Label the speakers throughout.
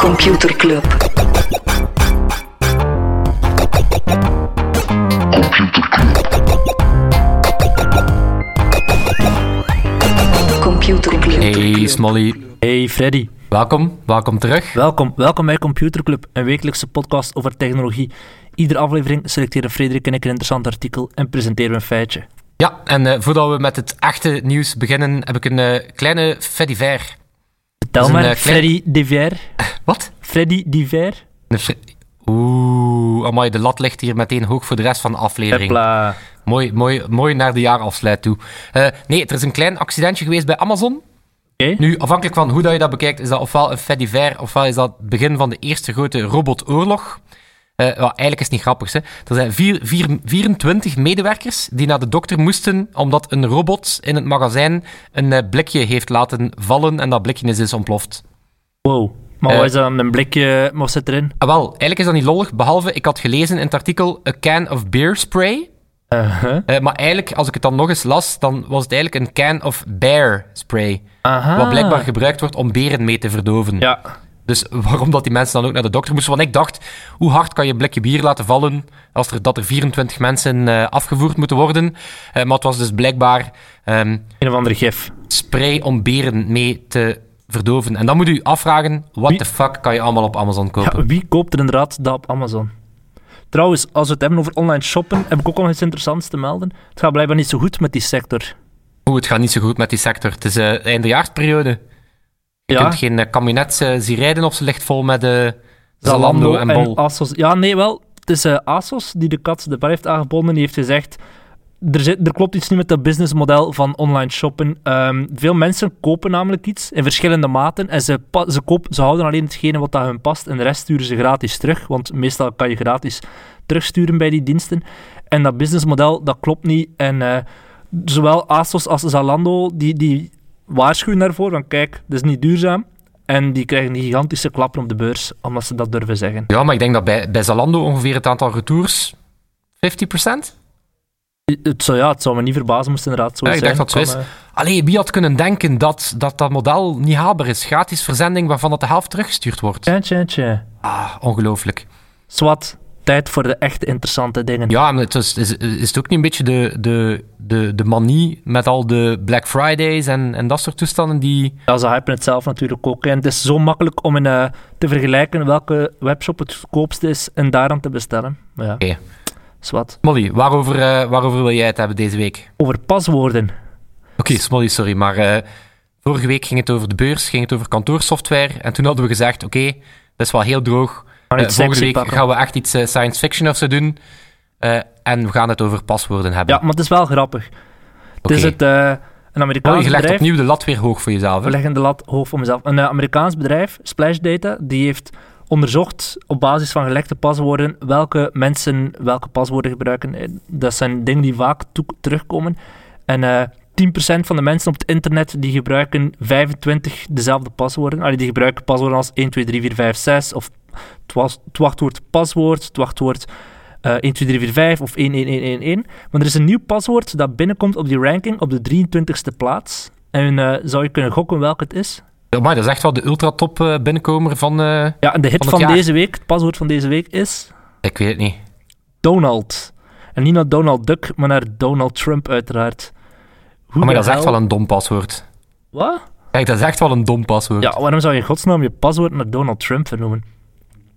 Speaker 1: Computer Club. Computer Club.
Speaker 2: Hey Smolly,
Speaker 3: Hey Freddy,
Speaker 2: welkom, welkom terug.
Speaker 3: welkom. Welkom bij Computer Club, een wekelijkse podcast over technologie. Iedere aflevering selecteren Frederik en ik een interessant artikel en presenteren we een feitje.
Speaker 2: Ja, en eh, voordat we met het echte nieuws beginnen, heb ik een eh, kleine fait divers. Dat
Speaker 3: Vertel
Speaker 2: is een,
Speaker 3: maar,
Speaker 2: eh, klein-
Speaker 3: Freddy Diver.
Speaker 2: Wat?
Speaker 3: Freddy Diver?
Speaker 2: Een fri- Oeh, amai, de lat ligt hier meteen hoog voor de rest van de aflevering.
Speaker 3: Hopla.
Speaker 2: Mooi, mooi, mooi naar de jaarafsluit toe. Eh, nee, er is een klein accidentje geweest bij Amazon.
Speaker 3: Oké.
Speaker 2: Nu, afhankelijk van hoe dat je dat bekijkt, is dat ofwel een fait divers, ofwel is dat het begin van de eerste grote robotoorlog. Eh, wel, eigenlijk is het niet grappig. Hè? Er zijn vier, vier, 24 medewerkers die naar de dokter moesten omdat een robot in het magazijn een eh, blikje heeft laten vallen en dat blikje is dus ontploft.
Speaker 3: Wow. Maar
Speaker 2: Eh.
Speaker 3: wat is dat dan? Een blikje, eh, wat zit erin?
Speaker 2: Ah, wel, eigenlijk is dat niet lollig, behalve ik had gelezen in het artikel A Can of Beer Spray.
Speaker 3: Uh-huh.
Speaker 2: Eh, maar eigenlijk, als ik het dan nog eens las, dan was het eigenlijk een can of bear spray.
Speaker 3: Aha.
Speaker 2: Wat blijkbaar gebruikt wordt om beren mee te verdoven.
Speaker 3: Ah. Ja.
Speaker 2: Dus waarom dat die mensen dan ook naar de dokter moesten? Want ik dacht, hoe hard kan je een blikje bier laten vallen als er, dat er 24 mensen eh, afgevoerd moeten worden? Eh, maar het was dus blijkbaar ehm,
Speaker 3: Een of ander gif.
Speaker 2: spray om beren mee te verdoven. En dan moet u je afvragen, what
Speaker 3: Wie-
Speaker 2: the fuck kan je allemaal op Amazon kopen?
Speaker 3: Ja, wie koopt er inderdaad dat op Amazon? Trouwens, als we het hebben over online shoppen, heb ik ook nog iets interessants te melden. Het gaat blijkbaar niet zo goed met die sector.
Speaker 2: Oeh, het gaat niet zo goed met die sector. Het is eh eindejaarsperiode. Je
Speaker 3: Ja.
Speaker 2: kunt geen eh, kabinet eh, zien rijden of ze ligt vol met eh,
Speaker 3: Zalando
Speaker 2: Zalando en Bol.
Speaker 3: Asos. Ja, nee, wel. Het is eh, Asos die de kat de bar heeft aangebonden. Die heeft gezegd, er, zit, er klopt iets niet met dat businessmodel van online shoppen. Ehm, veel mensen kopen namelijk iets in verschillende maten. En ze, pa- ze, koop, ze houden alleen hetgene wat dat hun past. En de rest sturen ze gratis terug. Want meestal kan je gratis terugsturen bij die diensten. En dat businessmodel, dat klopt niet. En eh, zowel Asos als Zalando, die, die waarschuwen daarvoor. Van kijk, dat is niet duurzaam. En die krijgen die gigantische klappen op de beurs, omdat ze dat durven zeggen.
Speaker 2: Ja, maar ik denk dat bij, bij Zalando ongeveer het aantal retours 50%?
Speaker 3: Het zou, ja, het zou me niet verbazen moest inderdaad zo
Speaker 2: Ja, ik
Speaker 3: zijn.
Speaker 2: dacht dat het zo
Speaker 3: Kan, eh,
Speaker 2: is. Allee, wie had kunnen denken dat, dat dat model niet haalbaar is? Gratis verzending waarvan dat de helft teruggestuurd wordt.
Speaker 3: eh, tja, tja, tja.
Speaker 2: Ah, ongelooflijk.
Speaker 3: Zwat, tijd voor de echt interessante dingen.
Speaker 2: Ja, en het is, is, is het ook niet een beetje de, de, de, de manie met al de Black Fridays en, en dat soort toestanden die...
Speaker 3: Ja, ze hypen het zelf natuurlijk ook. En het is zo makkelijk om in, eh, te vergelijken welke webshop het goedkoopste is en daaraan te bestellen. Maar ja,
Speaker 2: Oké.
Speaker 3: zwat.
Speaker 2: Smolly, waarover, eh, waarover wil jij het hebben deze week?
Speaker 3: Over paswoorden.
Speaker 2: Oké, Smolly, sorry, maar eh, vorige week ging het over de beurs, ging het over kantoorsoftware. En toen hadden we gezegd, oké, dat is wel heel droog.
Speaker 3: Gaan
Speaker 2: Eh,
Speaker 3: iets
Speaker 2: volgende
Speaker 3: sexy
Speaker 2: week
Speaker 3: pakken.
Speaker 2: gaan we echt iets eh, science fiction of zo doen. Eh, en we gaan het over paswoorden hebben.
Speaker 3: Ja, maar het is wel grappig. Het is
Speaker 2: Oké.
Speaker 3: het, eh, een
Speaker 2: Oh,
Speaker 3: Amerikaans
Speaker 2: je legt
Speaker 3: bedrijf.
Speaker 2: opnieuw de lat weer hoog voor jezelf. hè?
Speaker 3: We leggen de lat hoog voor mezelf. Een eh, Amerikaans bedrijf, Splash Data, die heeft onderzocht op basis van gelekte paswoorden welke mensen welke paswoorden gebruiken. Eh, Dat zijn dingen die vaak toe- terugkomen. En eh 10% van de mensen op het internet die gebruiken 25 dezelfde paswoorden. Allee, die gebruiken paswoorden als 1, 2, 3, 4, 5, 6 of het was- het wachtwoord paswoord, het wachtwoord eh 1, 2, 3, 4, 5 of 1, 1, 1, 1, 1. Maar er is een nieuw paswoord dat binnenkomt op die ranking op de 23ste plaats. En eh, zou je kunnen gokken welke het is?
Speaker 2: Ja, maar dat is echt wel de ultratop eh, binnenkomer van... eh,
Speaker 3: Ja, en de hit
Speaker 2: Van het
Speaker 3: van,
Speaker 2: jaar.
Speaker 3: deze week, het paswoord van deze week is
Speaker 2: ik weet het niet.
Speaker 3: Donald. En niet naar Donald Duck, maar naar Donald Trump uiteraard. Hoe
Speaker 2: Oh, maar
Speaker 3: de
Speaker 2: dat is echt
Speaker 3: hel-
Speaker 2: wel een dom paswoord.
Speaker 3: Wat?
Speaker 2: Kijk, dat is echt wel een dom paswoord.
Speaker 3: Ja, waarom zou je in godsnaam je paswoord naar Donald Trump vernoemen?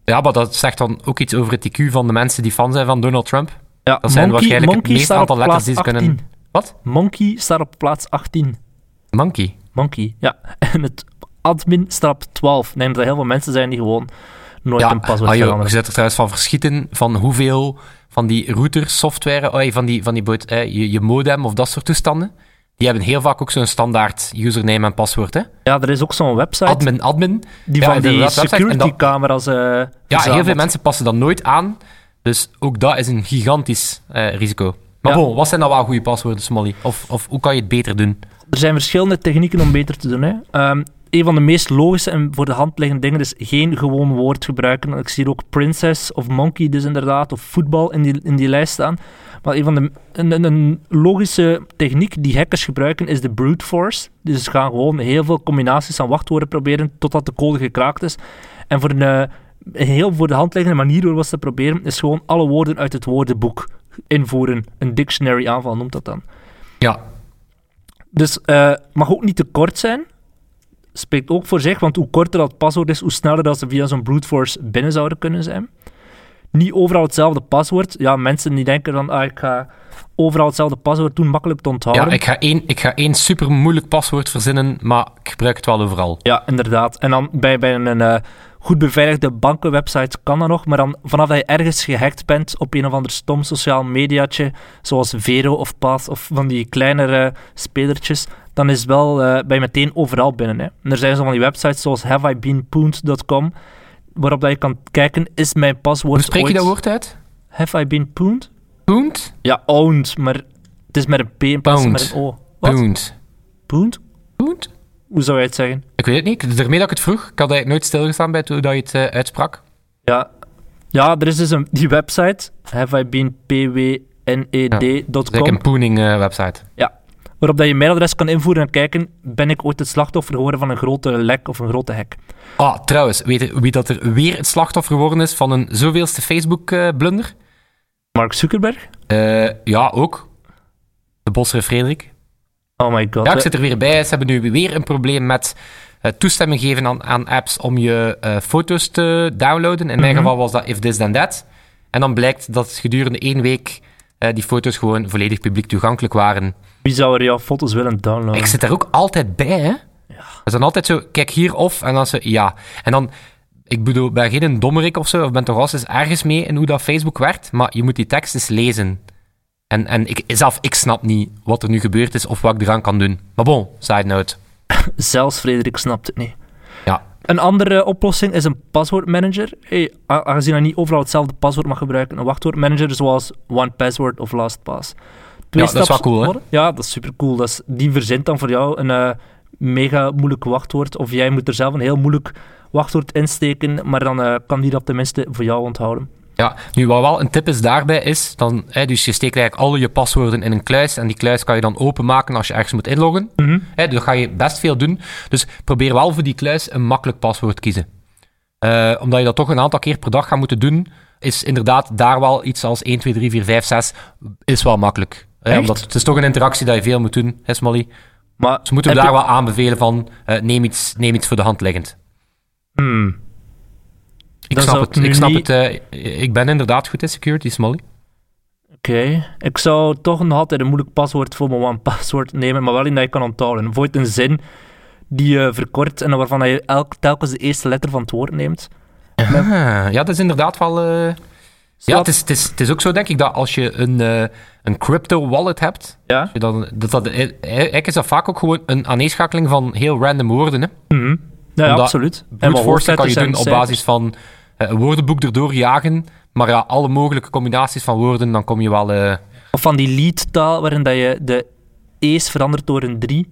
Speaker 2: Ja, maar dat zegt dan ook iets over het IQ van de mensen die fan zijn van Donald Trump.
Speaker 3: Ja,
Speaker 2: Dat zijn
Speaker 3: monkey,
Speaker 2: waarschijnlijk
Speaker 3: monkey
Speaker 2: het meeste
Speaker 3: staat
Speaker 2: aantal
Speaker 3: op
Speaker 2: letters die
Speaker 3: plaats
Speaker 2: ze kunnen...
Speaker 3: 18.
Speaker 2: Wat?
Speaker 3: Monkey staat op plaats 18.
Speaker 2: Monkey.
Speaker 3: Monkey, ja. En het admin staat op 12. Ik denk dat er heel veel mensen zijn die gewoon nooit
Speaker 2: Ja,
Speaker 3: een paswoord
Speaker 2: ah, joh, je
Speaker 3: veranderen.
Speaker 2: zit er trouwens van verschieten van hoeveel van die routers, software, oei, van die, van die boot, eh, je, je modem of dat soort toestanden, die hebben heel vaak ook zo'n standaard username en paswoord. Hè?
Speaker 3: Ja, er is ook zo'n website
Speaker 2: Admin, admin.
Speaker 3: die
Speaker 2: Ja,
Speaker 3: van die
Speaker 2: inderdaad, website. En dat-
Speaker 3: security-camera's eh
Speaker 2: Ja, heel
Speaker 3: verzamelt.
Speaker 2: veel mensen passen dat nooit aan. Dus ook dat is een gigantisch eh, risico. Maar
Speaker 3: Ja.
Speaker 2: bon, wat zijn nou wel goede paswoorden, Smolly? Of, of hoe kan je het beter doen?
Speaker 3: Er zijn verschillende technieken om beter te doen. Hè. Ehm, een van de meest logische en voor de hand liggende dingen is geen gewoon woord gebruiken. Ik zie hier ook princess of monkey dus inderdaad, of voetbal in die, in die lijst staan. Maar een van de een, een- een logische techniek die hackers gebruiken is de brute force. Dus ze gaan gewoon heel veel combinaties aan wachtwoorden proberen totdat de code gekraakt is. En voor een, eh, een heel voor de hand liggende manier om dat te proberen, is gewoon alle woorden uit het woordenboek invoeren. Een dictionary aanval noemt dat dan.
Speaker 2: Ja,
Speaker 3: Dus eh mag ook niet te kort zijn. Spreekt ook voor zich, want hoe korter dat paswoord is, hoe sneller dat ze via zo'n brute force binnen zouden kunnen zijn. Niet overal hetzelfde paswoord. Ja, mensen die denken van, ah, ik ga overal hetzelfde paswoord doen, makkelijk te onthouden.
Speaker 2: ja ik, ga één, ik ga één super moeilijk paswoord verzinnen, maar ik gebruik het wel overal.
Speaker 3: Ja, inderdaad. En dan bij, bij een eh, goed beveiligde bankenwebsite kan dat nog, maar dan vanaf dat je ergens gehackt bent op een of ander stom sociaal mediatje, zoals Vero of Path of van die kleinere eh, spelertjes, dan is wel eh bij meteen overal binnen. Hè. En er zijn zo van die websites zoals haveibeenpooned.com, waarop dat je kan kijken, is mijn paswoord
Speaker 2: Hoe spreek je
Speaker 3: ooit...
Speaker 2: dat woord uit?
Speaker 3: Have I been pooned?
Speaker 2: Pound?
Speaker 3: Ja, owned, maar het is met een P in plaats van met
Speaker 2: Pound.
Speaker 3: een O. Wat?
Speaker 2: Pound.
Speaker 3: Pooned?
Speaker 2: Pound?
Speaker 3: Hoe zou jij het zeggen?
Speaker 2: Ik weet het niet. Daarmee dat ik het vroeg, ik had eigenlijk nooit stilgestaan bij het- hoe dat je het eh, uitsprak.
Speaker 3: Ja, ja er is dus een, die website, e
Speaker 2: Dat is eigenlijk
Speaker 3: haveibeenpwned.com,
Speaker 2: een eh, pooning-website.
Speaker 3: waarop dat je mailadres kan invoeren en kijken, ben ik ooit het slachtoffer geworden van een grote lek of een grote hack?
Speaker 2: ah, trouwens, weet je wie dat er weer het slachtoffer geworden is van een zoveelste eh, Facebook-blunder?
Speaker 3: Mark Zuckerberg?
Speaker 2: Eh, ja, ook. De bosser Frederik.
Speaker 3: Oh my god.
Speaker 2: Ja, ik
Speaker 3: eh,
Speaker 2: zit er weer bij. Ze hebben nu weer een probleem met eh, toestemming geven aan, aan apps om je eh, foto's te downloaden. In mijn
Speaker 3: Mhm.
Speaker 2: geval was dat if this then that. En dan blijkt dat gedurende één week eh, die foto's gewoon volledig publiek toegankelijk waren.
Speaker 3: Wie zou er jouw foto's willen downloaden?
Speaker 2: Ik zit daar ook altijd bij, hè. Dat is dan altijd zo, kijk hier of, en dan zo, ja. En dan, ik bedoel, ben geen dommerik of zo, of ben toch al eens ergens mee in hoe dat Facebook werkt, maar je moet die tekst eens lezen. En, en ik, zelf, ik snap niet wat er nu gebeurd is of wat ik eraan kan doen. Maar bon, side note.
Speaker 3: Zelfs Frederik snapt het niet.
Speaker 2: Ja.
Speaker 3: Een andere oplossing is een paswoordmanager. Hey, a- aangezien je niet overal hetzelfde paswoord mag gebruiken, een wachtwoordmanager zoals OnePassword of LastPass. Twee
Speaker 2: Ja, dat is wel
Speaker 3: staps-
Speaker 2: cool, hè?
Speaker 3: Ja, dat is supercool. Dat is, die verzint dan voor jou een eh, mega moeilijk wachtwoord. Of jij moet er zelf een heel moeilijk wachtwoord insteken, maar dan eh, kan die dat tenminste voor jou onthouden.
Speaker 2: Ja, nu wat wel een tip is daarbij is, dan, hè, dus je steekt eigenlijk al je paswoorden in een kluis en die kluis kan je dan openmaken als je ergens moet inloggen.
Speaker 3: Mhm.
Speaker 2: Hè, dus dat ga je best veel doen. Dus probeer wel voor die kluis een makkelijk paswoord te kiezen. Eh, omdat je dat toch een aantal keer per dag gaat moeten doen, is inderdaad daar wel iets als 1, 2, 3, 4, 5, 6, is wel makkelijk. Hè,
Speaker 3: Echt?
Speaker 2: omdat het is toch een interactie dat je veel moet doen, hè Smolly?
Speaker 3: Maar
Speaker 2: Dus we moeten we
Speaker 3: heb
Speaker 2: daar
Speaker 3: je-
Speaker 2: wel aanbevelen van, eh, neem, iets, neem iets voor de hand liggend.
Speaker 3: Hmm.
Speaker 2: Ik
Speaker 3: Dan
Speaker 2: snap
Speaker 3: zou
Speaker 2: het,
Speaker 3: ik nu
Speaker 2: ik snap
Speaker 3: niet-
Speaker 2: het. eh, ik ben inderdaad goed in security, Smolly.
Speaker 3: Oké, ik zou toch nog altijd een moeilijk paswoord voor mijn one password nemen, maar wel in dat je kan onthouden. Voort een zin die je verkort en waarvan je elk, telkens de eerste letter van het woord neemt.
Speaker 2: Ah, ja, dat is inderdaad wel. eh, Ja, het is, het, is, het is ook zo, denk ik, dat als je een, eh, een crypto wallet hebt,
Speaker 3: Ja.
Speaker 2: je dan, dat, dat, eh, eigenlijk is dat vaak ook gewoon een aaneenschakeling van heel random woorden. Hè.
Speaker 3: Mhm. Ja, ja,
Speaker 2: Omdat
Speaker 3: absoluut.
Speaker 2: Brute
Speaker 3: wat
Speaker 2: force kan
Speaker 3: hoofdletters
Speaker 2: je
Speaker 3: en
Speaker 2: doen op
Speaker 3: cijfers.
Speaker 2: basis van eh, een woordenboek erdoor jagen, maar ja, alle mogelijke combinaties van woorden, dan kom je wel. eh,
Speaker 3: Of van die liedtaal waarin dat je de E's verandert door een 3.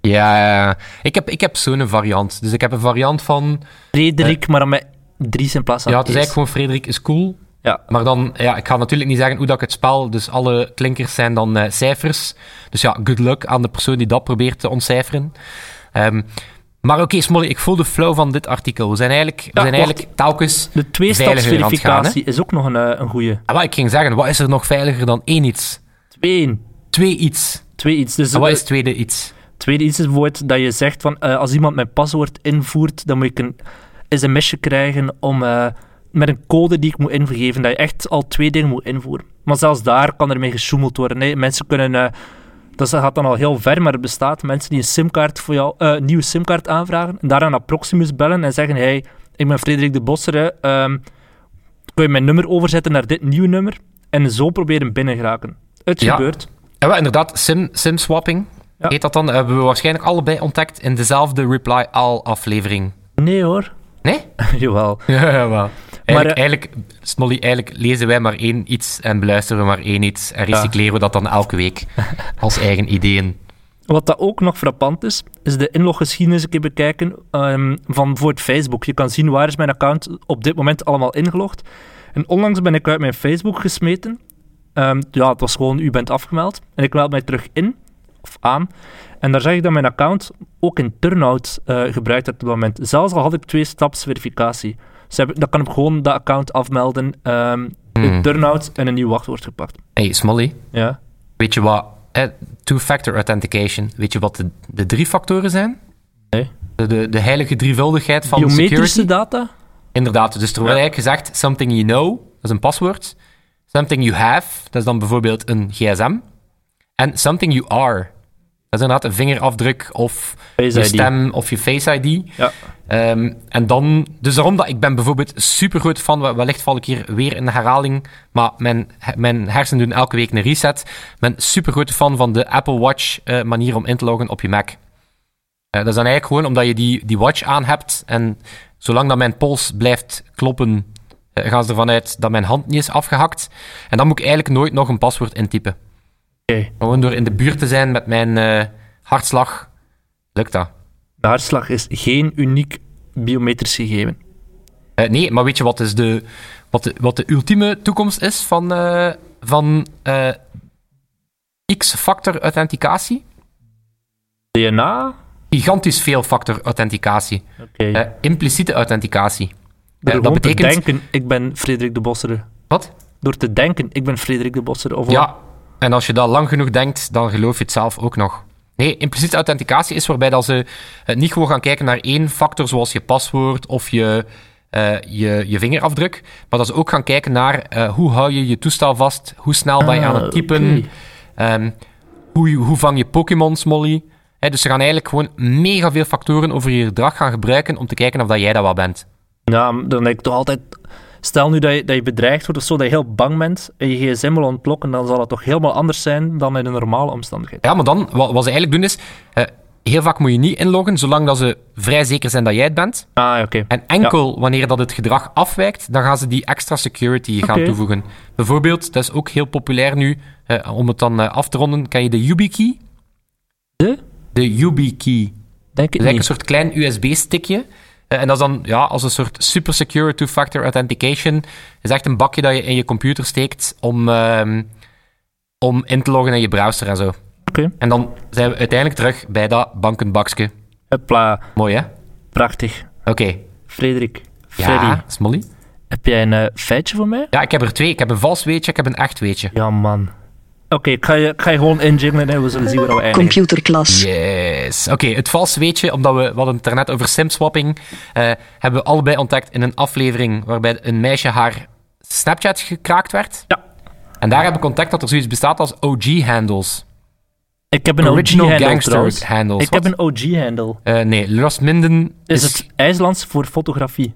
Speaker 2: ja, eh, ik heb, ik heb zo'n variant. Dus ik heb een variant van.
Speaker 3: Frederik, maar dan met 3's in plaats van
Speaker 2: Ja, het is
Speaker 3: E's.
Speaker 2: eigenlijk gewoon Frederik is cool.
Speaker 3: Ja.
Speaker 2: Maar dan, ja, ik ga natuurlijk niet zeggen hoe dat ik het spel. Dus alle klinkers zijn dan eh, cijfers. Dus ja, good luck aan de persoon die dat probeert te ontcijferen. Ehm, maar oké, Smolly, ik voel de flow van dit artikel. We zijn eigenlijk, we zijn
Speaker 3: wacht.
Speaker 2: eigenlijk telkens...
Speaker 3: De
Speaker 2: veiliger aan het gaan,
Speaker 3: tweestapsverificatie is ook nog een, eh, een goede.
Speaker 2: Ah, wel, ik ging zeggen, wat is er nog veiliger dan één iets?
Speaker 3: Twee.
Speaker 2: Twee iets.
Speaker 3: Twee iets. Dus
Speaker 2: En wat
Speaker 3: eh,
Speaker 2: is tweede iets?
Speaker 3: Tweede iets is bijvoorbeeld dat je zegt van eh, als iemand mijn paswoord invoert, dan moet ik een sms'je krijgen om eh, met een code die ik moet ingeven, dat je echt al twee dingen moet invoeren. Maar zelfs daar kan ermee gesjoemeld worden. Nee, mensen kunnen, eh, dat gaat dan al heel ver, maar het bestaat mensen die een simkaart voor jou, eh, een nieuwe simkaart aanvragen, en daarna naar Proximus bellen en zeggen, hey, ik ben Frederik de Bosser, hè, ehm, kun je mijn nummer overzetten naar dit nieuwe nummer? En zo proberen binnen geraken. Het
Speaker 2: Ja.
Speaker 3: gebeurt.
Speaker 2: En wel, inderdaad, sim, sim-swapping
Speaker 3: Ja.
Speaker 2: heet dat dan. Hebben we waarschijnlijk allebei ontdekt in dezelfde Reply All aflevering.
Speaker 3: Nee hoor.
Speaker 2: Nee?
Speaker 3: Jawel.
Speaker 2: Ja, wel.
Speaker 3: Maar,
Speaker 2: Eigenlijk,
Speaker 3: eh,
Speaker 2: eigenlijk, Smolly, eigenlijk lezen wij maar één iets en beluisteren we maar één iets. En recycleren we dat dan elke week als eigen ideeën.
Speaker 3: Wat dat ook nog frappant is, is de inloggeschiedenis een keer bekijken ehm, van voor het Facebook. Je kan zien waar is mijn account op dit moment allemaal ingelogd. En onlangs ben ik uit mijn Facebook gesmeten. Ehm, ja, het was gewoon u bent afgemeld. En ik meld mij terug in, of aan. En daar zag ik dat mijn account ook in Turnout eh, gebruikt werd op dat moment. Zelfs al had ik twee staps verificatie. Dus heb, ik- dan kan ik gewoon dat account afmelden. ehm
Speaker 2: Hmm.
Speaker 3: in Turnout en een nieuw wachtwoord gepakt.
Speaker 2: Hey, Smolly,
Speaker 3: Ja.
Speaker 2: weet je wat... eh, Two-factor authentication. Weet je wat de, de drie factoren zijn?
Speaker 3: Nee.
Speaker 2: De, de, de heilige drievuldigheid van de
Speaker 3: Biometrische
Speaker 2: security.
Speaker 3: data?
Speaker 2: Inderdaad, dus er wordt
Speaker 3: Ja.
Speaker 2: eigenlijk gezegd, something you know, dat is een paswoord. Something you have, dat is dan bijvoorbeeld een gsm. En something you are, dat is inderdaad een vingerafdruk of
Speaker 3: Face
Speaker 2: je
Speaker 3: ID.
Speaker 2: stem of je Face ID.
Speaker 3: Ja.
Speaker 2: Ehm, en dan, dus daarom dat ik ben bijvoorbeeld super goed van, wellicht val ik hier weer in de herhaling, maar mijn, mijn hersenen doen elke week een reset. Ik ben super goed fan van de Apple Watch eh, manier om in te loggen op je Mac. Eh, dat is dan eigenlijk gewoon omdat je die, die watch aan hebt en zolang dat mijn pols blijft kloppen, eh, gaan ze ervan uit dat mijn hand niet is afgehakt. En dan moet ik eigenlijk nooit nog een paswoord intypen.
Speaker 3: Oké.
Speaker 2: Gewoon door in de buurt te zijn met mijn eh, hartslag, lukt dat.
Speaker 3: De hartslag is geen uniek biometrisch gegeven.
Speaker 2: Eh, nee, maar weet je wat, is de, wat, de, wat de ultieme toekomst is van, eh, van eh, X-factor authenticatie?
Speaker 3: DNA?
Speaker 2: Gigantisch veel factor authenticatie.
Speaker 3: Oké.
Speaker 2: Eh, impliciete authenticatie. Eh,
Speaker 3: Door
Speaker 2: dat
Speaker 3: gewoon
Speaker 2: betekent-
Speaker 3: te denken, ik ben Frederik de Bossere.
Speaker 2: Wat?
Speaker 3: Door te denken, ik ben Frederik de Bossere. Of
Speaker 2: Ja, en als je dat lang genoeg denkt, dan geloof je het zelf ook nog. Nee, impliciete authenticatie is waarbij dat ze eh, niet gewoon gaan kijken naar één factor, zoals je paswoord of je, eh, je, je vingerafdruk, maar dat ze ook gaan kijken naar eh, hoe hou je je toestel vast, hoe snel ben je aan het typen,
Speaker 3: oké.
Speaker 2: Ehm, hoe, hoe vang je Pokémon, Smolly? Hè, dus ze gaan eigenlijk gewoon mega veel factoren over je gedrag gaan gebruiken om te kijken of dat jij dat wel bent.
Speaker 3: Ja, maar dan denk ik toch altijd... Stel nu dat je, dat je bedreigd wordt of zo, dat je heel bang bent en je gsm wil ontploffen, dan zal het toch helemaal anders zijn dan in een normale omstandigheid.
Speaker 2: Ja, maar dan, wa- wat, ze eigenlijk doen is, eh, heel vaak moet je niet inloggen, zolang dat ze vrij zeker zijn dat jij het bent.
Speaker 3: Ah, oké.
Speaker 2: En enkel wanneer dat het gedrag afwijkt, dan gaan ze die extra security gaan
Speaker 3: Oké.
Speaker 2: toevoegen. Bijvoorbeeld, dat is ook heel populair nu, eh, om het dan eh, af te ronden, kan je de YubiKey?
Speaker 3: De?
Speaker 2: De YubiKey.
Speaker 3: Eh, Denk ik
Speaker 2: Het is
Speaker 3: niet.
Speaker 2: eigenlijk een soort klein USB-stickje. Eh, en dat is dan ja, als een soort super secure two-factor authentication. Het is echt een bakje dat je in je computer steekt om, ehm, om in te loggen in je browser en zo.
Speaker 3: Oké.
Speaker 2: En dan zijn we uiteindelijk terug bij dat bankenbakje.
Speaker 3: Hopla,
Speaker 2: Mooi, hè?
Speaker 3: prachtig.
Speaker 2: Oké.
Speaker 3: Frederik, Freddy,
Speaker 2: Ja, Smolly?
Speaker 3: heb jij een eh, feitje voor mij?
Speaker 2: Ja, ik heb er twee. Ik heb een vals weetje, ik heb een echt weetje.
Speaker 3: Ja, man. Oké, ik, ga je- ik ga je gewoon injinglen en we zullen zien waar we eindigen.
Speaker 1: Computerklas.
Speaker 2: Yes. Oké, het vals weetje, omdat we, we hadden het daarnet over simswapping, eh, hebben we allebei ontdekt in een aflevering waarbij een meisje haar Snapchat gekraakt werd.
Speaker 3: Ja.
Speaker 2: En daar heb ik ontdekt dat er zoiets bestaat als OG-handles.
Speaker 3: Ik heb een
Speaker 2: Original
Speaker 3: OG-handle
Speaker 2: gangster
Speaker 3: trouwens.
Speaker 2: handles,
Speaker 3: Ik
Speaker 2: wat?
Speaker 3: heb een OG-handle.
Speaker 2: Eh, nee, Lost Minden
Speaker 3: Is Dus het IJslands voor fotografie?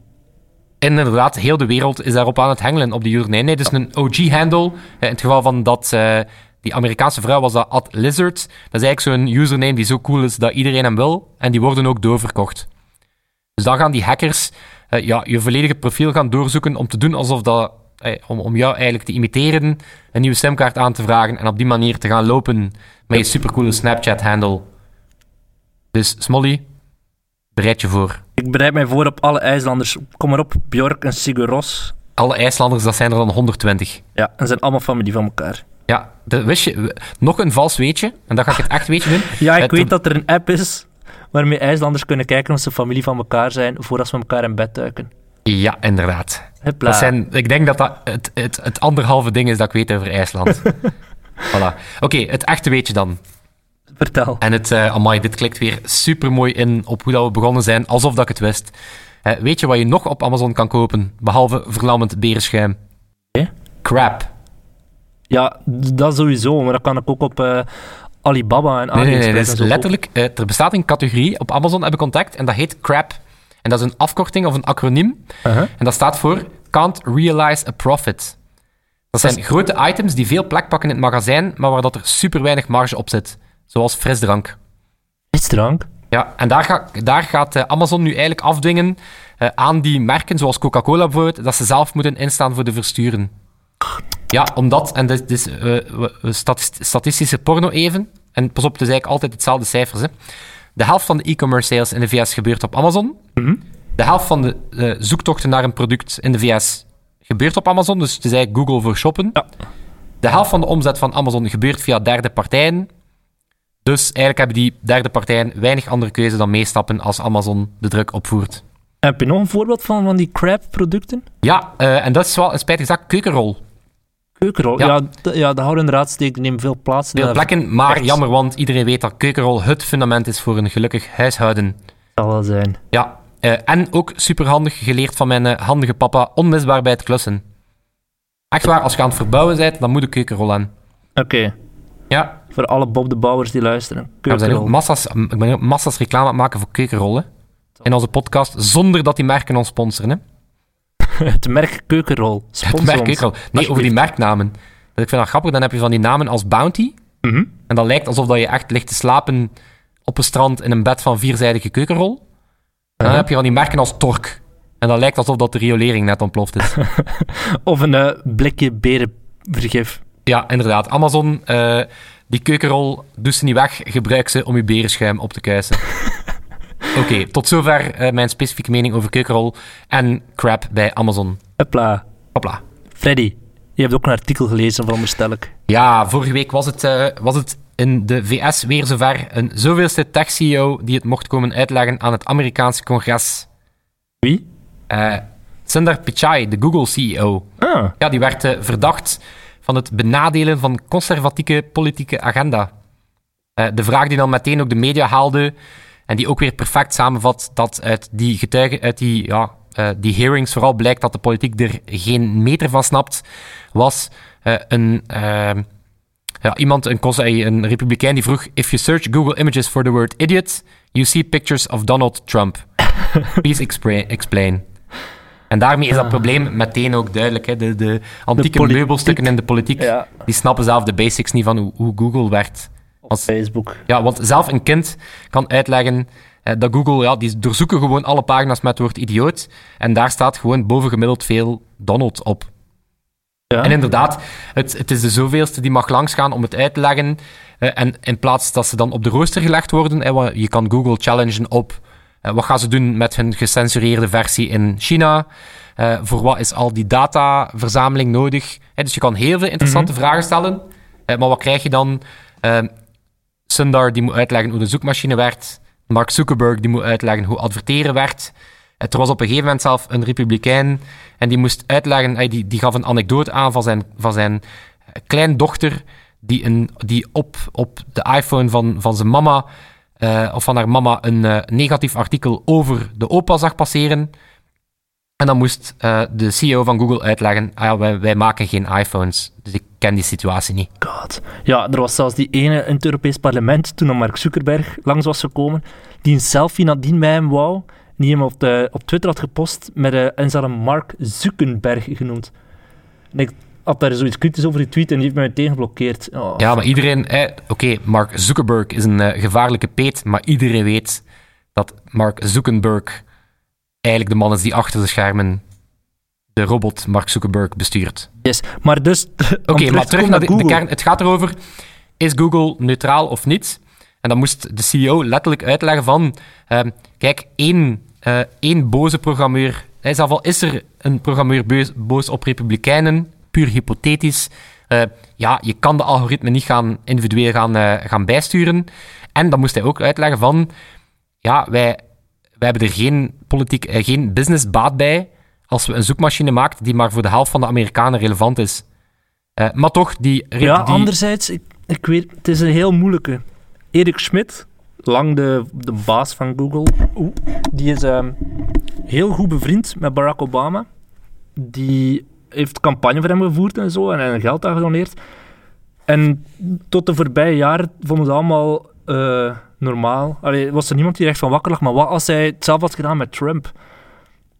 Speaker 2: inderdaad, heel de wereld is daarop aan het hengelen, op die username. Nee, dus een OG-handle, in het geval van dat, eh, die Amerikaanse vrouw was dat Ad Lizard. Dat is eigenlijk zo'n username die zo cool is dat iedereen hem wil. En die worden ook doorverkocht. Dus dan gaan die hackers eh, ja, je volledige profiel gaan doorzoeken om te doen alsof dat... eh, om, om jou eigenlijk te imiteren, een nieuwe simkaart aan te vragen en op die manier te gaan lopen met je supercoole Snapchat-handle. Dus Smolly, bereid je voor.
Speaker 3: Ik bereid mij voor op alle IJslanders. Kom maar op, Bjork en Sigur Ros.
Speaker 2: Alle IJslanders, dat zijn er dan 120.
Speaker 3: Ja, en ze zijn allemaal familie van elkaar.
Speaker 2: Ja, dat wist je. W- Nog een vals weetje, en dan ga ik het echt weetje doen.
Speaker 3: Ja, ik
Speaker 2: Het-
Speaker 3: weet dat er een app is waarmee IJslanders kunnen kijken of ze familie van elkaar zijn voordat ze met elkaar in bed duiken.
Speaker 2: Ja, inderdaad.
Speaker 3: Hupla.
Speaker 2: Dat zijn, ik denk dat dat het, het, het anderhalve ding is dat ik weet over IJsland. voilà. Oké, het echte weetje dan.
Speaker 3: Vertel.
Speaker 2: En het, eh amai, dit klikt weer super mooi in op hoe dat we begonnen zijn, alsof dat ik het wist. Eh, weet je wat je nog op Amazon kan kopen, behalve verlammend berenschuim?
Speaker 3: Eh?
Speaker 2: Crap.
Speaker 3: Ja, d- dat sowieso, maar dat kan ik ook op eh, Alibaba en
Speaker 2: Nee, nee,
Speaker 3: AliExpress
Speaker 2: nee,
Speaker 3: en
Speaker 2: dat is
Speaker 3: zo kopen.
Speaker 2: letterlijk... eh, er bestaat een categorie op Amazon, heb ik contact, en dat heet crap. En dat is een afkorting of een acroniem
Speaker 3: Uh-huh.
Speaker 2: En dat staat voor Can't Realize a Profit. Dat zijn grote items die veel plek pakken in het magazijn, maar waar dat er super weinig marge op zit. Zoals frisdrank.
Speaker 3: Frisdrank?
Speaker 2: Ja, en daar, ga, daar gaat eh, Amazon nu eigenlijk afdwingen eh, aan die merken, zoals Coca-Cola bijvoorbeeld, dat ze zelf moeten instaan voor de versturen. Ja, omdat, en dit dit is eh, we- we- statist- statistische porno even, en pas op, het is eigenlijk altijd hetzelfde cijfers. Hè. De helft van de e-commerce sales in de VS gebeurt op Amazon. De helft van de eh, zoektochten naar een product in de VS gebeurt op Amazon, dus het is eigenlijk Google voor shoppen.
Speaker 3: Ja.
Speaker 2: De helft van de omzet van Amazon gebeurt via derde partijen. Dus eigenlijk hebben die derde partijen weinig andere keuze dan meestappen als Amazon de druk opvoert.
Speaker 3: Heb je nog een voorbeeld van, van die crab-producten?
Speaker 2: Ja, eh, en dat is wel een spijtige zaak, keukenrol.
Speaker 3: Keukenrol.
Speaker 2: Ja.
Speaker 3: Ja, d- ja de houden inderdaad steek, neemt veel plaats. Eh, in.
Speaker 2: Veel
Speaker 3: Dat
Speaker 2: plekken, maar
Speaker 3: Echt.
Speaker 2: jammer, want iedereen weet dat keukenrol het fundament is voor een gelukkig huishouden.
Speaker 3: zal wel zijn.
Speaker 2: Ja, eh, en ook superhandig geleerd van mijn eh, handige papa, onmisbaar bij het klussen. Echt waar, als je aan het verbouwen bent, dan moet de keukenrol aan.
Speaker 3: Oké,
Speaker 2: Ja,
Speaker 3: voor alle Bob de Bouwers die luisteren.
Speaker 2: we zijn
Speaker 3: Keukenrol.
Speaker 2: ook massa's, m- ik ben ook massa's reclame aan het maken voor keukenrollen. In onze podcast, zonder dat die merken ons sponsoren. Hè.
Speaker 3: Het merk Keukenrol.
Speaker 2: Het
Speaker 3: Sponsor
Speaker 2: merk
Speaker 3: ons.
Speaker 2: keukenrol. Nee, over die merknamen. Dus ik vind dat grappig, dan heb je van die namen als Bounty.
Speaker 3: Mhm.
Speaker 2: En dat lijkt alsof dat je echt ligt te slapen op een strand in een bed van vierzijdige keukenrol. En dan
Speaker 3: Uh-huh.
Speaker 2: heb je van die merken als Tork. En dat lijkt alsof dat de riolering net ontploft is.
Speaker 3: Of een eh, blikje berenvergif.
Speaker 2: Ja, inderdaad. Amazon, eh, die keukenrol, doe ze niet weg. Gebruik ze om je berenschuim op te kuisen. Oké, tot zover eh, mijn specifieke mening over keukenrol en crap bij Amazon.
Speaker 3: Hopla.
Speaker 2: Hopla.
Speaker 3: Freddy, je hebt ook een artikel gelezen van stel ik.
Speaker 2: Ja, vorige week was het, eh, was het in de VS weer zover een zoveelste tech-CEO die het mocht komen uitleggen aan het Amerikaanse congres.
Speaker 3: Wie?
Speaker 2: Eh, Sundar Pichai, de Google-CEO.
Speaker 3: Ah,
Speaker 2: Ja, die werd eh, verdacht van het benadelen van conservatieve politieke agenda. Eh, de vraag die dan meteen ook de media haalde en die ook weer perfect samenvat dat uit die getuigen, uit die, ja, eh, die hearings vooral blijkt dat de politiek er geen meter van snapt, was eh, een, ehm, ja, iemand, een, cons- eh, een republikein die vroeg If you search Google images for the word idiot, you see pictures of Donald Trump. Please expra- explain. En daarmee is dat probleem meteen ook duidelijk. Hè. De, de antieke
Speaker 3: Ah. politiek.
Speaker 2: meubelstukken in de politiek
Speaker 3: ja.
Speaker 2: die snappen zelf de basics niet van hoe, hoe Google werkt. Als-
Speaker 3: Facebook.
Speaker 2: ja, want zelf een kind kan uitleggen eh, dat Google, ja, die doorzoeken gewoon alle pagina's met het woord idioot. En daar staat gewoon bovengemiddeld veel Donald op.
Speaker 3: Ja.
Speaker 2: En inderdaad, het, het is de zoveelste die mag langsgaan om het uit te leggen. Eh, en in plaats dat ze dan op de rooster gelegd worden, eh, wa- je kan Google challengen op eh, wat gaan ze doen met hun gecensureerde versie in China. Eh, voor wat is al die dataverzameling nodig? Eh, dus je kan heel veel interessante vragen stellen. Eh, maar wat krijg je dan? Eh, Sundar die moet uitleggen hoe de zoekmachine werkt. Mark Zuckerberg die moet uitleggen hoe adverteren werkt. Het was op een gegeven moment zelf een republikein en die moest uitleggen, hij die, die gaf een anekdote aan van zijn, van zijn eh, kleindochter die, een, die op, op de iPhone van, van zijn mama eh, of van haar mama een eh, negatief artikel over de opa zag passeren. En dan moest eh, de CEO van Google uitleggen, ah, ja, wij, wij maken geen iPhones, dus ik ken die situatie niet.
Speaker 3: God. Ja, er was zelfs die ene in het Europees parlement, toen dan Mark Zuckerberg langs was gekomen, die een selfie nadien bij hem wou, en die hem op, de, op Twitter had gepost, met, eh, en ze hadden hem Mark Zuckerberg genoemd. En ik had daar zoiets kritisch over getweet en die heeft mij meteen geblokkeerd. Oh,
Speaker 2: Ja, maar iedereen... eh, Oké, Mark Zuckerberg is een eh, gevaarlijke peet, maar iedereen weet dat Mark Zuckerberg eigenlijk de man is die achter de schermen de robot Mark Zuckerberg bestuurt.
Speaker 3: yes. Maar dus...
Speaker 2: Oké, maar terug naar de, de kern. Het gaat erover, is Google neutraal of niet? En dan moest de CEO letterlijk uitleggen van... ehm, kijk, één, eh, één boze programmeur... Hij zelf al is er een programmeur beus- boos op republikeinen, puur hypothetisch. eh, ja, je kan de algoritme niet gaan individueel gaan, eh, gaan bijsturen. En dan moest hij ook uitleggen van... Ja, wij, wij hebben er geen, politiek, eh, geen business baat bij als we een zoekmachine maken die maar voor de helft van de Amerikanen relevant is. Eh, maar toch, die... re-
Speaker 3: Ja,
Speaker 2: die-
Speaker 3: anderzijds, ik, ik weet, het is een heel moeilijke. Erik Schmidt, lang de, de baas van Google, oeh, die is ehm, heel goed bevriend met Barack Obama. Die heeft campagne voor hem gevoerd en zo, en, en geld aan gedoneerd. En tot de voorbije jaren vonden ze allemaal eh, normaal. Allee, was er niemand die er echt van wakker lag, maar wat als hij het zelf had gedaan met Trump?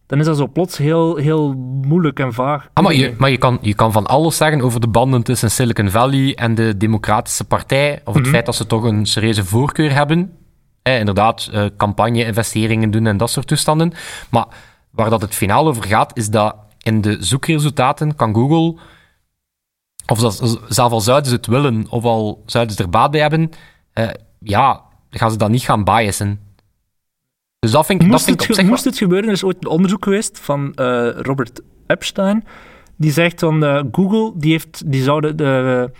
Speaker 3: Dan is dat zo plots heel, heel moeilijk en vaag.
Speaker 2: Ah, maar je, maar je, kan, je kan van alles zeggen over de banden tussen Silicon Valley en de Democratische Partij. Of het
Speaker 3: Mhm.
Speaker 2: feit dat ze toch een serieuze voorkeur hebben. Eh, inderdaad, eh, campagne-investeringen doen en dat soort toestanden. Maar waar dat het finaal over gaat, is dat in de zoekresultaten kan Google, of dat, zelf al zouden ze het willen, of al zouden ze er baat bij hebben, eh, ja, gaan ze dat niet gaan biasen. Dus dat vind ik, dat
Speaker 3: Moest,
Speaker 2: vind
Speaker 3: het,
Speaker 2: ik op zich
Speaker 3: ge-
Speaker 2: wel-
Speaker 3: moest het gebeuren, er is ooit een onderzoek geweest van eh, Robert Epstein. Die zegt van eh, Google, die, heeft, die zouden de,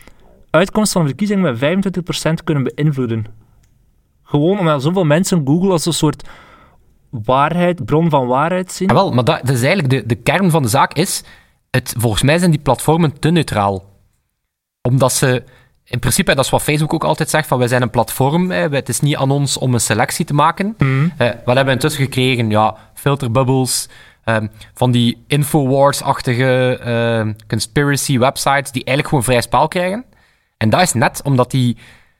Speaker 3: uitkomst van een verkiezing met 25% kunnen beïnvloeden. Gewoon omdat zoveel mensen Google als een soort waarheid, bron van waarheid zien.
Speaker 2: Ah, wel, maar dat, dat is eigenlijk de, de kern van de zaak is, het, volgens mij zijn die platformen te neutraal. Omdat ze, in principe, en dat is wat Facebook ook altijd zegt, van wij zijn een platform, hè, wij- het is niet aan ons om een selectie te maken. Eh, wat hebben we intussen gekregen? Ja, filterbubbels, ehm, van die Infowars-achtige ehm, conspiracy websites, die eigenlijk gewoon vrij spaal krijgen. En dat is net omdat, die,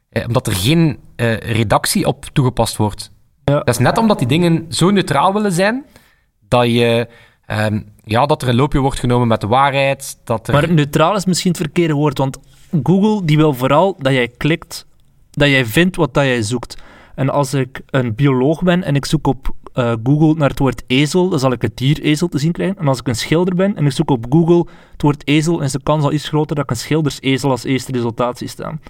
Speaker 2: eh, omdat er geen eh, redactie op toegepast wordt.
Speaker 3: Ja.
Speaker 2: Dat is net omdat die dingen zo neutraal willen zijn, dat, je, ehm, ja, dat er een loopje wordt genomen met de waarheid. Dat er...
Speaker 3: Maar neutraal is misschien het verkeerde woord, want Google die wil vooral dat jij klikt, dat jij vindt wat dat jij zoekt. En als ik een bioloog ben en ik zoek op eh, Google naar het woord ezel, dan zal ik het dier ezel te zien krijgen. En als ik een schilder ben en ik zoek op Google het woord ezel, is de kans al iets groter dat ik een schildersezel als eerste resultaat zie staan.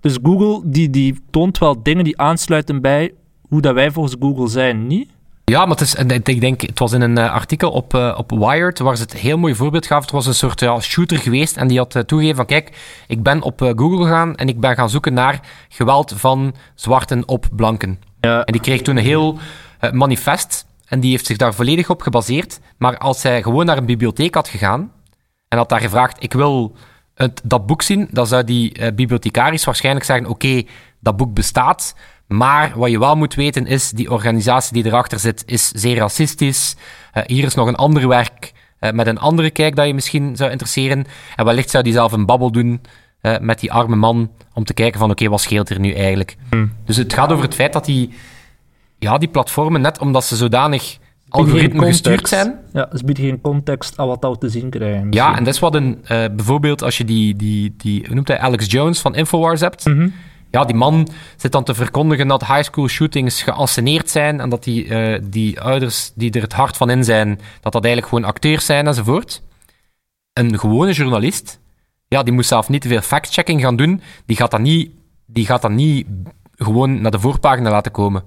Speaker 3: Dus Google die, die toont wel dingen die aansluiten bij hoe dat wij volgens Google zijn, niet?
Speaker 2: Ja, maar het is, en ik denk, het was in een eh, artikel op, eh, op Wired waar ze het heel mooi voorbeeld gaven. Het was een soort ja, shooter geweest en die had eh, toegegeven van kijk, ik ben op eh, Google gegaan en ik ben gaan zoeken naar geweld van zwarten op blanken.
Speaker 3: Ja.
Speaker 2: En die kreeg toen een heel eh, manifest en die heeft zich daar volledig op gebaseerd. Maar als hij gewoon naar een bibliotheek had gegaan en had daar gevraagd, ik wil het, dat boek zien, dan zou die eh, bibliothecaris waarschijnlijk zeggen, oké, dat boek bestaat, maar wat je wel moet weten is, die organisatie die erachter zit, is zeer racistisch. Eh, hier is nog een ander werk eh, met een andere kijk dat je misschien zou interesseren. En wellicht zou die zelf een babbel doen eh, met die arme man om te kijken van, oké, wat scheelt er nu eigenlijk? Dus het gaat over het feit dat die, ja, die platformen, net omdat ze zodanig algoritme gestuurd zijn,
Speaker 3: Ja, ze bieden geen context aan wat dat we te zien krijgen.
Speaker 2: ja, en dat is wat een... eh, bijvoorbeeld als je die, die, die... Hoe noemt hij? Alex Jones van Infowars hebt. Ja, die man zit dan te verkondigen dat high school shootings geanceneerd zijn en dat die, eh, die ouders die er het hart van in zijn, dat dat eigenlijk gewoon acteurs zijn enzovoort. Een gewone journalist, ja, die moest zelf niet te veel fact-checking gaan doen, die gaat dat niet, die gaat dat niet gewoon naar de voorpagina laten komen.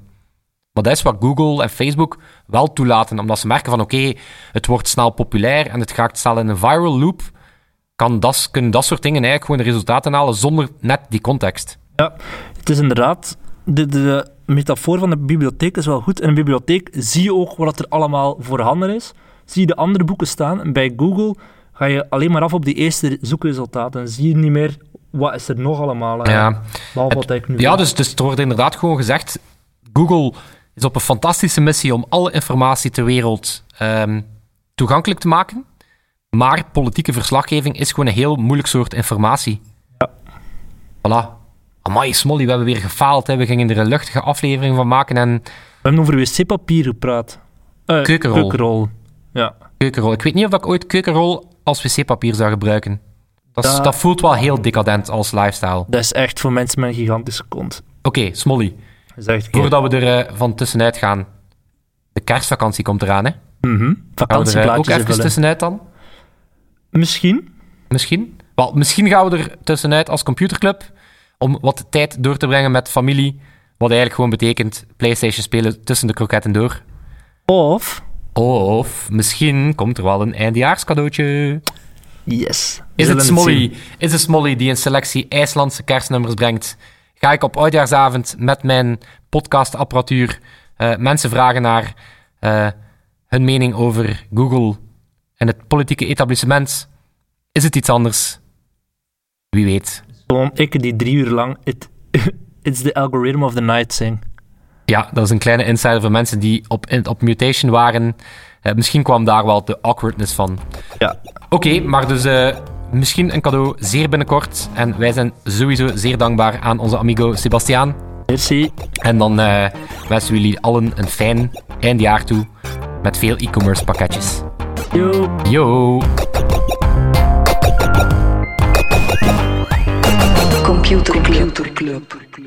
Speaker 2: Maar dat is wat Google en Facebook wel toelaten, omdat ze merken van oké, het wordt snel populair en het gaat snel in een viral loop. Kan dat, kunnen dat soort dingen eigenlijk gewoon de resultaten halen zonder net die context.
Speaker 3: Ja, het is inderdaad. De, de metafoor van de bibliotheek is wel goed. In een bibliotheek zie je ook wat er allemaal voorhanden is. Zie je de andere boeken staan. En bij Google ga je alleen maar af op die eerste zoekresultaten. En zie je niet meer wat is er nog allemaal. eh,
Speaker 2: Ja.
Speaker 3: Behalve wat ik nu
Speaker 2: Ja,
Speaker 3: weet.
Speaker 2: dus, dus er wordt inderdaad gewoon gezegd: Google is op een fantastische missie om alle informatie ter wereld ehm, toegankelijk te maken. Maar politieke verslaggeving is gewoon een heel moeilijk soort informatie. Ja. Voilà. Amai, Smolly, we hebben weer gefaald. Hè. We gingen er een luchtige aflevering van maken en
Speaker 3: We hebben over wc-papier gepraat. Eh,
Speaker 2: Keukenrol.
Speaker 3: Ja.
Speaker 2: keukenrol. Ik weet niet of ik ooit keukenrol als wc-papier zou gebruiken. Dat, is-
Speaker 3: Da-
Speaker 2: dat voelt wel heel decadent als lifestyle.
Speaker 3: Dat is echt voor mensen met een gigantische kont.
Speaker 2: Oké, Smolly,
Speaker 3: Dat is echt
Speaker 2: voordat we er eh, van tussenuit gaan. De kerstvakantie komt eraan, hè?
Speaker 3: Mhm.
Speaker 2: Gaan we er eh, ook
Speaker 3: Vakantieplaatjes
Speaker 2: even
Speaker 3: invullen.
Speaker 2: tussenuit dan?
Speaker 3: Misschien.
Speaker 2: Misschien. Wel, misschien gaan we er tussenuit als computerclub om wat tijd door te brengen met familie. Wat eigenlijk gewoon betekent PlayStation spelen tussen de kroketten door.
Speaker 3: Of...
Speaker 2: Of misschien komt er wel een eindejaarscadeautje.
Speaker 3: Yes. We
Speaker 2: Is
Speaker 3: zullen
Speaker 2: het
Speaker 3: zien.
Speaker 2: Smolly? Is het Smolly die een selectie IJslandse kerstnummers brengt? Ga ik op oudjaarsavond met mijn podcastapparatuur eh, mensen vragen naar eh, hun mening over Google en het politieke etablissement? Is het iets anders? Wie weet.
Speaker 3: Gewoon ik die drie uur lang it, It's the algorithm of the night zing.
Speaker 2: Ja, dat is een kleine insider voor mensen die op, in- op mutation waren. Eh, misschien kwam daar wel de awkwardness van.
Speaker 3: Ja.
Speaker 2: Oké, maar dus eh, misschien een cadeau zeer binnenkort. En wij zijn sowieso zeer dankbaar aan onze amigo Sebastiaan.
Speaker 3: Merci.
Speaker 2: En dan eh, wensen we jullie allen een fijn eindjaar toe met veel e-commerce pakketjes.
Speaker 3: Yo.
Speaker 2: Yo!
Speaker 1: Computer Club. Computer Club.